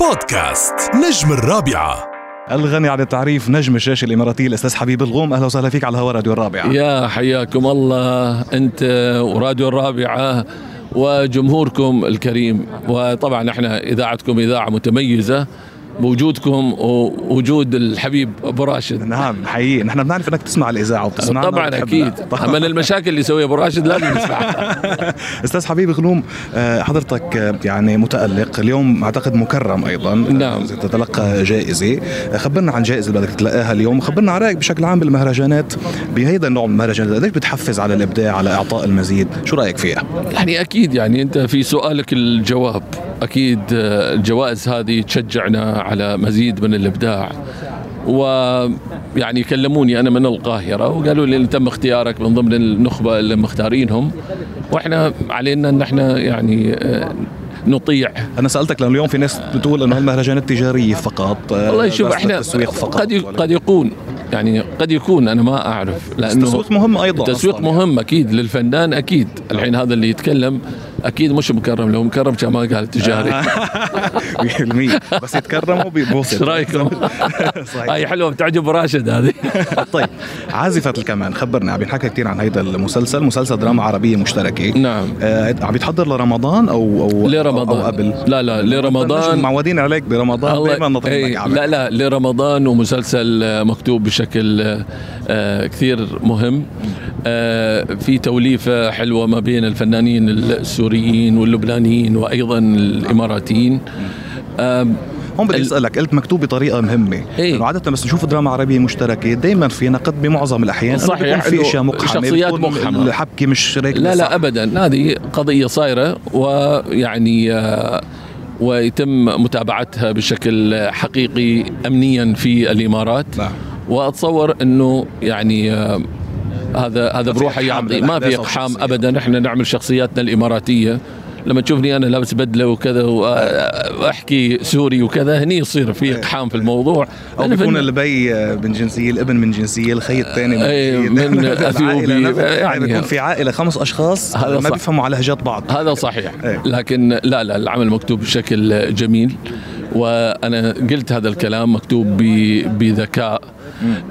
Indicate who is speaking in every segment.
Speaker 1: بودكاست نجم الرابعة
Speaker 2: الغني عن التعريف نجم الشاشه الاماراتي الاستاذ حبيب الغوم اهلا وسهلا فيك على الهواء راديو الرابعه
Speaker 3: يا حياكم الله انت وراديو الرابعه وجمهوركم الكريم وطبعا احنا اذاعتكم اذاعه متميزه بوجودكم ووجود الحبيب ابو راشد
Speaker 2: نعم حقيقي نحن بنعرف انك تسمع الاذاعه وبتسمعنا
Speaker 3: طبعا
Speaker 2: وبتحبنا.
Speaker 3: اكيد
Speaker 2: طبعاً.
Speaker 3: من المشاكل اللي يسويها ابو راشد لازم نسمعها
Speaker 2: استاذ حبيب غلوم آه، حضرتك آه، يعني متالق اليوم اعتقد مكرم ايضا
Speaker 3: نعم.
Speaker 2: آه، تتلقى جائزه آه، خبرنا عن جائزه اللي بدك تتلقاها اليوم خبرنا عن رايك بشكل عام بالمهرجانات بهيدا النوع من المهرجانات قديش بتحفز على الابداع على اعطاء المزيد شو رايك فيها
Speaker 3: يعني اكيد يعني انت في سؤالك الجواب اكيد آه، الجوائز هذه تشجعنا على مزيد من الابداع ويعني كلموني انا من القاهره وقالوا لي تم اختيارك من ضمن النخبه اللي مختارينهم واحنا علينا ان احنا يعني آه، نطيع
Speaker 2: انا سالتك لانه اليوم في ناس بتقول انه هالمهرجانات تجاريه فقط آه،
Speaker 3: والله شوف
Speaker 2: بس
Speaker 3: احنا
Speaker 2: للتسويق فقط
Speaker 3: قد
Speaker 2: ولكن-
Speaker 3: قد يكون يعني قد يكون انا ما اعرف لانه
Speaker 2: التسويق مهم ايضا
Speaker 3: التسويق
Speaker 2: أصلاً. يعني.
Speaker 3: مهم اكيد للفنان اكيد الحين هذا اللي يتكلم اكيد مش مكرم لو مكرم كان ما قال تجاري
Speaker 2: 100% آه. بس يتكرموا بيبوسط
Speaker 3: ايش رايكم؟
Speaker 2: صحيح
Speaker 3: هاي حلوه بتعجب راشد هذه
Speaker 2: طيب عازفة الكمان خبرنا عم ينحكى كثير عن هيدا المسلسل مسلسل دراما عربية مشتركة
Speaker 3: نعم
Speaker 2: آه عم يتحضر لرمضان او او
Speaker 3: لرمضان
Speaker 2: او قبل
Speaker 3: لا لا لرمضان
Speaker 2: معودين عليك برمضان
Speaker 3: الله-
Speaker 2: دائما نطلبك
Speaker 3: إيه،
Speaker 2: على
Speaker 3: لا لا لرمضان ومسلسل آه، مكتوب بشكل آه، آه، كثير مهم آه، في توليفة حلوة ما بين الفنانين السوريين واللبنانيين وأيضا الإماراتيين آم،
Speaker 2: هون بدي
Speaker 3: ال-
Speaker 2: اسالك قلت مكتوب بطريقه مهمه
Speaker 3: إيه.
Speaker 2: لأنه عاده بس نشوف دراما عربيه مشتركه دائما في نقد بمعظم الاحيان إنه
Speaker 3: صحيح،
Speaker 2: بيكون في
Speaker 3: إنه
Speaker 2: اشياء مقحمه
Speaker 3: شخصيات
Speaker 2: بيكون
Speaker 3: مقحمة.
Speaker 2: الحبكه مش راكبه
Speaker 3: لا
Speaker 2: صح.
Speaker 3: لا ابدا هذه قضيه صايره ويعني آه، ويتم متابعتها بشكل حقيقي امنيا في الامارات
Speaker 2: نعم.
Speaker 3: واتصور انه يعني آه، هذا هذا
Speaker 2: في
Speaker 3: بروحه
Speaker 2: إقحام
Speaker 3: يعطي ما في
Speaker 2: للأحداث أو
Speaker 3: اقحام
Speaker 2: الشخصيات.
Speaker 3: ابدا احنا نعمل شخصياتنا الاماراتيه لما تشوفني انا لابس بدله وكذا واحكي سوري وكذا هني يصير في اقحام في الموضوع
Speaker 2: او
Speaker 3: لأن في
Speaker 2: إيه. بيكون البي من جنسيه الابن من جنسيه الخي الثاني من
Speaker 3: إيه،
Speaker 2: جنسية.
Speaker 3: من
Speaker 2: العائلة
Speaker 3: أثيوبي.
Speaker 2: نفسها. يعني
Speaker 3: يعني-
Speaker 2: بيكون في عائله خمس اشخاص
Speaker 3: هذا
Speaker 2: ما
Speaker 3: صح.
Speaker 2: بيفهموا على لهجات بعض
Speaker 3: هذا صحيح
Speaker 2: إيه.
Speaker 3: لكن لا لا العمل مكتوب بشكل جميل وانا قلت هذا الكلام مكتوب ب- بذكاء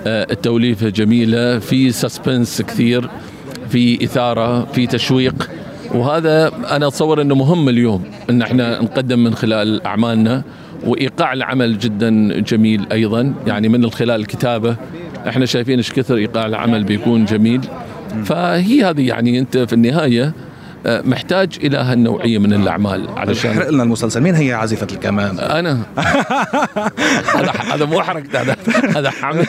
Speaker 3: آه، التوليفه جميله في سسبنس كثير في اثاره في تشويق وهذا انا اتصور انه مهم اليوم ان احنا نقدم من خلال اعمالنا وايقاع العمل جدا جميل ايضا يعني من خلال الكتابه احنا شايفين ايش كثر ايقاع العمل بيكون جميل فهي هذه يعني انت في النهايه آه، محتاج الى هالنوعيه من الاعمال علشان
Speaker 2: احرق لنا المسلسل مين هي عازفه الكمان
Speaker 3: انا هذا هذا مو حركت هذا هذا حمد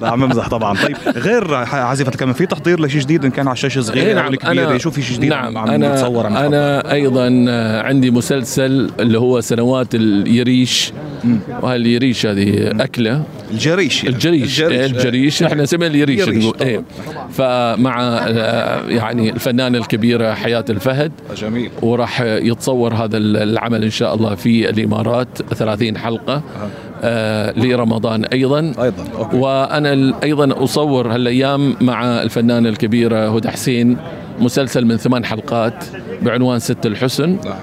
Speaker 2: لا عم بمزح طبعا طيب غير عازفه الكمان في تحضير لشيء جديد ان كان على الشاشه
Speaker 3: إيه
Speaker 2: صغيره او كبيره شو في شيء جديد
Speaker 3: نعم
Speaker 2: عم
Speaker 3: أنا
Speaker 2: نتصور عم نحضر؟
Speaker 3: انا ايضا آه، عندي مسلسل اللي هو سنوات اليريش وهاليريش هذه اكله
Speaker 2: الجريش يعني.
Speaker 3: الجريش إيه، الجريش احنا نسميه اليريش
Speaker 2: اليريش
Speaker 3: نقول. إيه. فمع آه، يعني الفنانه الكبيره حياه الفهد
Speaker 2: آه، جميل
Speaker 3: وراح يتصور هذا العمل ان شاء الله في الامارات 30 حلقه آه لرمضان ايضا
Speaker 2: ايضا أوكي.
Speaker 3: وانا ال- ايضا اصور هالايام مع الفنانه الكبيره هدى حسين مسلسل من ثمان حلقات بعنوان ست الحسن
Speaker 2: نعم.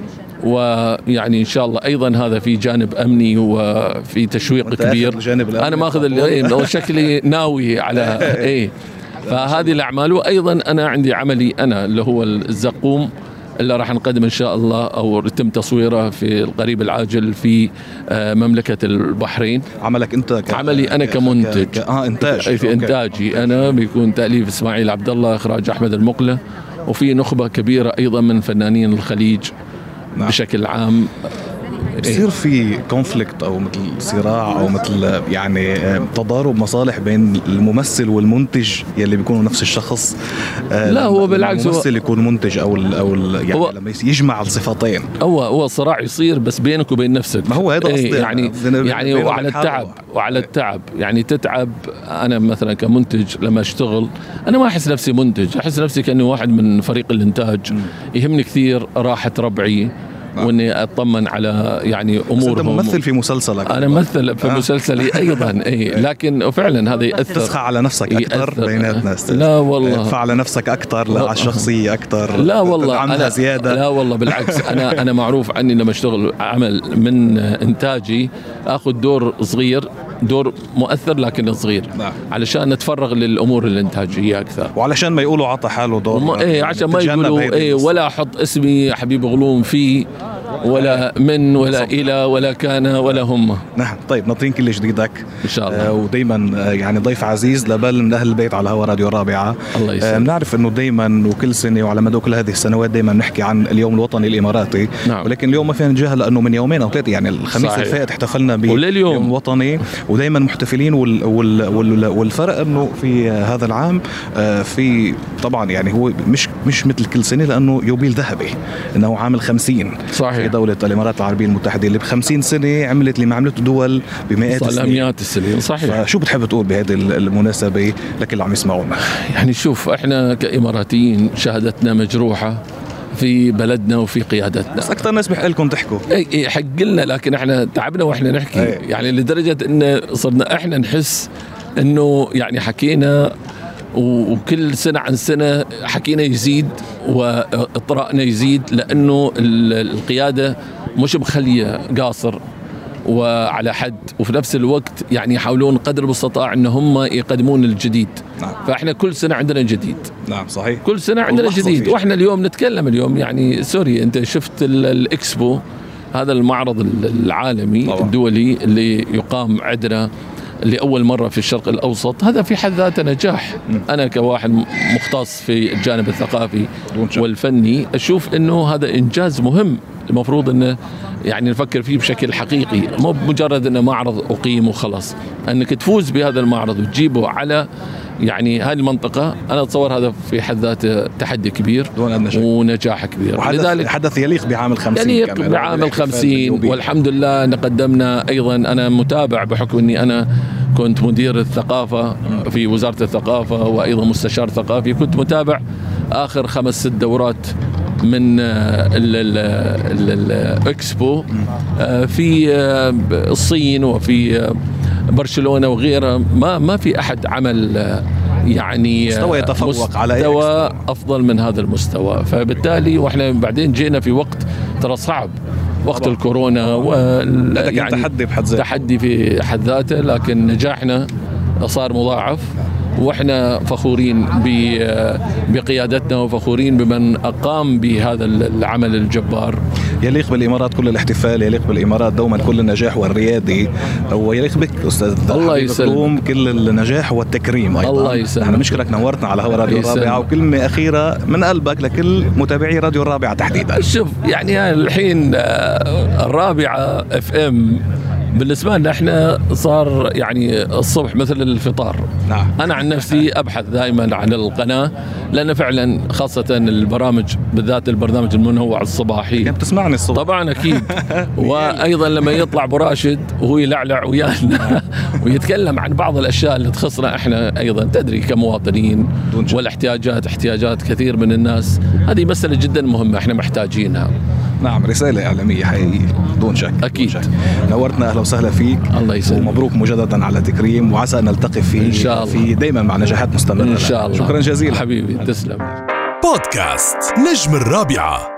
Speaker 3: ويعني ان شاء الله ايضا هذا في جانب امني وفي تشويق
Speaker 2: وأنت آخذ
Speaker 3: كبير
Speaker 2: الجانب الأمني
Speaker 3: انا ماخذ ال-
Speaker 2: طبعاً.
Speaker 3: إيه، والله شكلي ناوي على ايه فهذه الاعمال وايضا انا عندي عملي انا اللي هو الزقوم اللي راح نقدم ان شاء الله او يتم تصويره في القريب العاجل في آه، مملكه البحرين
Speaker 2: عملك انت ك...
Speaker 3: عملي انا
Speaker 2: ك-
Speaker 3: كمنتج.
Speaker 2: ك... اه انتاج
Speaker 3: في
Speaker 2: أوكي.
Speaker 3: انتاجي انا بيكون تاليف اسماعيل عبد الله اخراج احمد المقله وفي نخبه كبيره ايضا من فنانين الخليج
Speaker 2: نعم.
Speaker 3: بشكل عام
Speaker 2: بصير في كونفليكت او مثل صراع او مثل يعني آه، تضارب مصالح بين الممثل والمنتج يلي بيكونوا نفس الشخص آه،
Speaker 3: لا، هو
Speaker 2: لما
Speaker 3: بالعكس هو-
Speaker 2: الممثل يكون منتج او ال او ال يعني
Speaker 3: هو-
Speaker 2: لما يس- يجمع الصفتين
Speaker 3: هو هو صراع يصير بس بينك وبين نفسك
Speaker 2: ما هو هذا
Speaker 3: إيه،
Speaker 2: قصدي.
Speaker 3: يعني
Speaker 2: قصدي إنه
Speaker 3: يعني
Speaker 2: بينهم
Speaker 3: وعلى
Speaker 2: الحرب.
Speaker 3: التعب وعلى
Speaker 2: إيه.
Speaker 3: التعب يعني تتعب انا مثلا كمنتج لما اشتغل انا ما احس نفسي منتج احس نفسي كاني واحد من فريق الانتاج يهمني كثير راحه ربعي واني اطمن على يعني
Speaker 2: آه. بس انت
Speaker 3: امورهم
Speaker 2: ممثل آه. إيه. في مسلسلك
Speaker 3: انا ممثل في مسلسلي ايضا اي لكن فعلا هذا
Speaker 2: تسخى
Speaker 3: ياثر
Speaker 2: على نفسك اكثر
Speaker 3: يأثر.
Speaker 2: بيناتنا أستاذ.
Speaker 3: لا والله.
Speaker 2: آه، تدفع على نفسك اكثر لا على الشخصيه اكثر
Speaker 3: لا والله
Speaker 2: تدعمها زياده
Speaker 3: لا والله بالعكس انا انا معروف عني لما اشتغل عمل من انتاجي اخذ دور صغير دور مؤثر لكن صغير
Speaker 2: نعم.
Speaker 3: علشان نتفرغ للامور الانتاجيه اكثر
Speaker 2: وعلشان ما يقولوا عطى حاله دور
Speaker 3: وما ايه
Speaker 2: يعني
Speaker 3: عشان ما
Speaker 2: تتجنب
Speaker 3: يقولوا
Speaker 2: هيدي
Speaker 3: ايه
Speaker 2: القصة.
Speaker 3: ولا احط اسمي يا حبيب غلوم فيه ولا من ولا الى ولا كان ولا هم
Speaker 2: نعم طيب ناطرين كل جديدك
Speaker 3: إن شاء الله.
Speaker 2: آه ودايما آه، يعني ضيف عزيز لبال من اهل البيت على هوا راديو الرابعه
Speaker 3: الله يسلمك.
Speaker 2: بنعرف انه دايما وكل سنه وعلى مدى كل هذه السنوات دايما بنحكي عن اليوم الوطني الاماراتي
Speaker 3: نعم.
Speaker 2: ولكن اليوم ما فينا نتجاهل لانه من يومين او ثلاثه يعني الخميس
Speaker 3: صحيح.
Speaker 2: الفائت احتفلنا
Speaker 3: ولليوم.
Speaker 2: باليوم الوطني ودايما محتفلين وال وال وال والفرق انه في هذا العام آه، في طبعا يعني هو مش مش مثل كل سنه لانه يوبيل ذهبي انه عام ال 50
Speaker 3: صحيح.
Speaker 2: في دولة الإمارات العربية المتحدة اللي ب 50 سنة عملت اللي ما عملته دول بمئات السنين
Speaker 3: طلميات السنين صحيح
Speaker 2: فشو بتحب تقول بهذه المناسبة لكل اللي عم يسمعونا
Speaker 3: يعني شوف احنا كاماراتيين شهادتنا مجروحه في بلدنا وفي قيادتنا
Speaker 2: بس أكثر ناس بحق لكم تحكوا
Speaker 3: اي اي إيه، حق لنا لكن احنا تعبنا واحنا نحكي
Speaker 2: إيه.
Speaker 3: يعني لدرجه ان صرنا احنا نحس انه يعني حكينا و- وكل سنه عن سنه حكينا يزيد واطرائنا يزيد لانه ال- القياده مش مخليه قاصر وعلى حد وفي نفس الوقت يعني يحاولون قدر المستطاع ان هم يقدمون الجديد
Speaker 2: نعم.
Speaker 3: فاحنا كل سنه عندنا جديد
Speaker 2: نعم صحيح
Speaker 3: كل سنه عندنا
Speaker 2: واللحظة
Speaker 3: جديد
Speaker 2: فيه.
Speaker 3: واحنا اليوم نتكلم اليوم يعني سوري انت شفت ال- الاكسبو هذا المعرض ال- العالمي
Speaker 2: طبعاً.
Speaker 3: الدولي اللي يقام عندنا لاول مره في الشرق الاوسط هذا في حد ذاته نجاح انا كواحد م- مختص في الجانب الثقافي
Speaker 2: دون شك.
Speaker 3: والفني اشوف انه هذا انجاز مهم المفروض انه يعني نفكر فيه بشكل حقيقي مو مجرد انه معرض اقيم وخلاص انك تفوز بهذا المعرض وتجيبه على يعني هذه المنطقه انا اتصور هذا في حد ذاته تحدي كبير
Speaker 2: دون أدنى شك.
Speaker 3: ونجاح كبير
Speaker 2: حدث,
Speaker 3: لذلك
Speaker 2: حدث يليق بعام ال 50
Speaker 3: يليق
Speaker 2: كمان.
Speaker 3: بعام
Speaker 2: الاحتفال
Speaker 3: يعني الخمسين
Speaker 2: باليوبيل.
Speaker 3: والحمد لله أن قدمنا أيضا أنا متابع بحكم أني أنا كنت مدير الثقافة في وزارة الثقافة وأيضا مستشار ثقافي كنت متابع آخر خمس ست دورات من آه، ال- ال- ال- الإكسبو آه، في آه، الصين وفي آه، برشلونة وغيرها ما ما في أحد عمل آه، يعني آه،
Speaker 2: مستوى يتفوق على أي
Speaker 3: مستوى
Speaker 2: إكسبو.
Speaker 3: افضل من هذا المستوى فبالتالي واحنا بعدين جينا في وقت ترى صعب وقت
Speaker 2: طبعاً.
Speaker 3: الكورونا وال
Speaker 2: هذا كان تحدي بحد ذاته.
Speaker 3: تحدي في حد ذاته لكن نجاحنا صار مضاعف واحنا فخورين ب- بقيادتنا وفخورين بمن اقام بهذا العمل الجبار
Speaker 2: يليق بالامارات كل الاحتفال يليق بالامارات دوما كل النجاح والريادي ويليق بك استاذ
Speaker 3: الله
Speaker 2: حبيب
Speaker 3: يسلمك.
Speaker 2: مكتوم، كل النجاح والتكريم ايضا
Speaker 3: الله يسلمك.
Speaker 2: انا مشكلك نورتنا على هوا راديو
Speaker 3: يسلمك.
Speaker 2: الرابعه وكلمه اخيره من قلبك لكل متابعي راديو الرابعه تحديدا
Speaker 3: شوف يعني أنا الحين آه، الرابعه اف ام بالنسبه لنا احنا صار يعني الصبح مثل الفطار
Speaker 2: نعم.
Speaker 3: انا عن نفسي ابحث دائما عن القناه لان فعلا خاصه البرامج بالذات البرنامج المنوع الصباحي
Speaker 2: يعني بتسمعني الصبح
Speaker 3: طبعا اكيد وايضا لما يطلع ابو راشد وهو يلعلع ويانا ويتكلم عن بعض الاشياء اللي تخصنا احنا ايضا تدري كمواطنين
Speaker 2: دون شك.
Speaker 3: والاحتياجات احتياجات كثير من الناس هذه مساله جدا مهمه احنا محتاجينها
Speaker 2: نعم رسالة إعلامية حقيقية دون شك
Speaker 3: أكيد.
Speaker 2: دون شك. نورتنا أهلا وسهلا فيك
Speaker 3: الله يسلمك.
Speaker 2: ومبروك مجددا على تكريم وعسى أن نلتقي في
Speaker 3: إن شاء الله.
Speaker 2: في دائما مع نجاحات مستمرة
Speaker 3: ان شاء الله
Speaker 2: شكرا جزيلا
Speaker 3: حبيبي تسلم
Speaker 1: بودكاست نجم الرابعه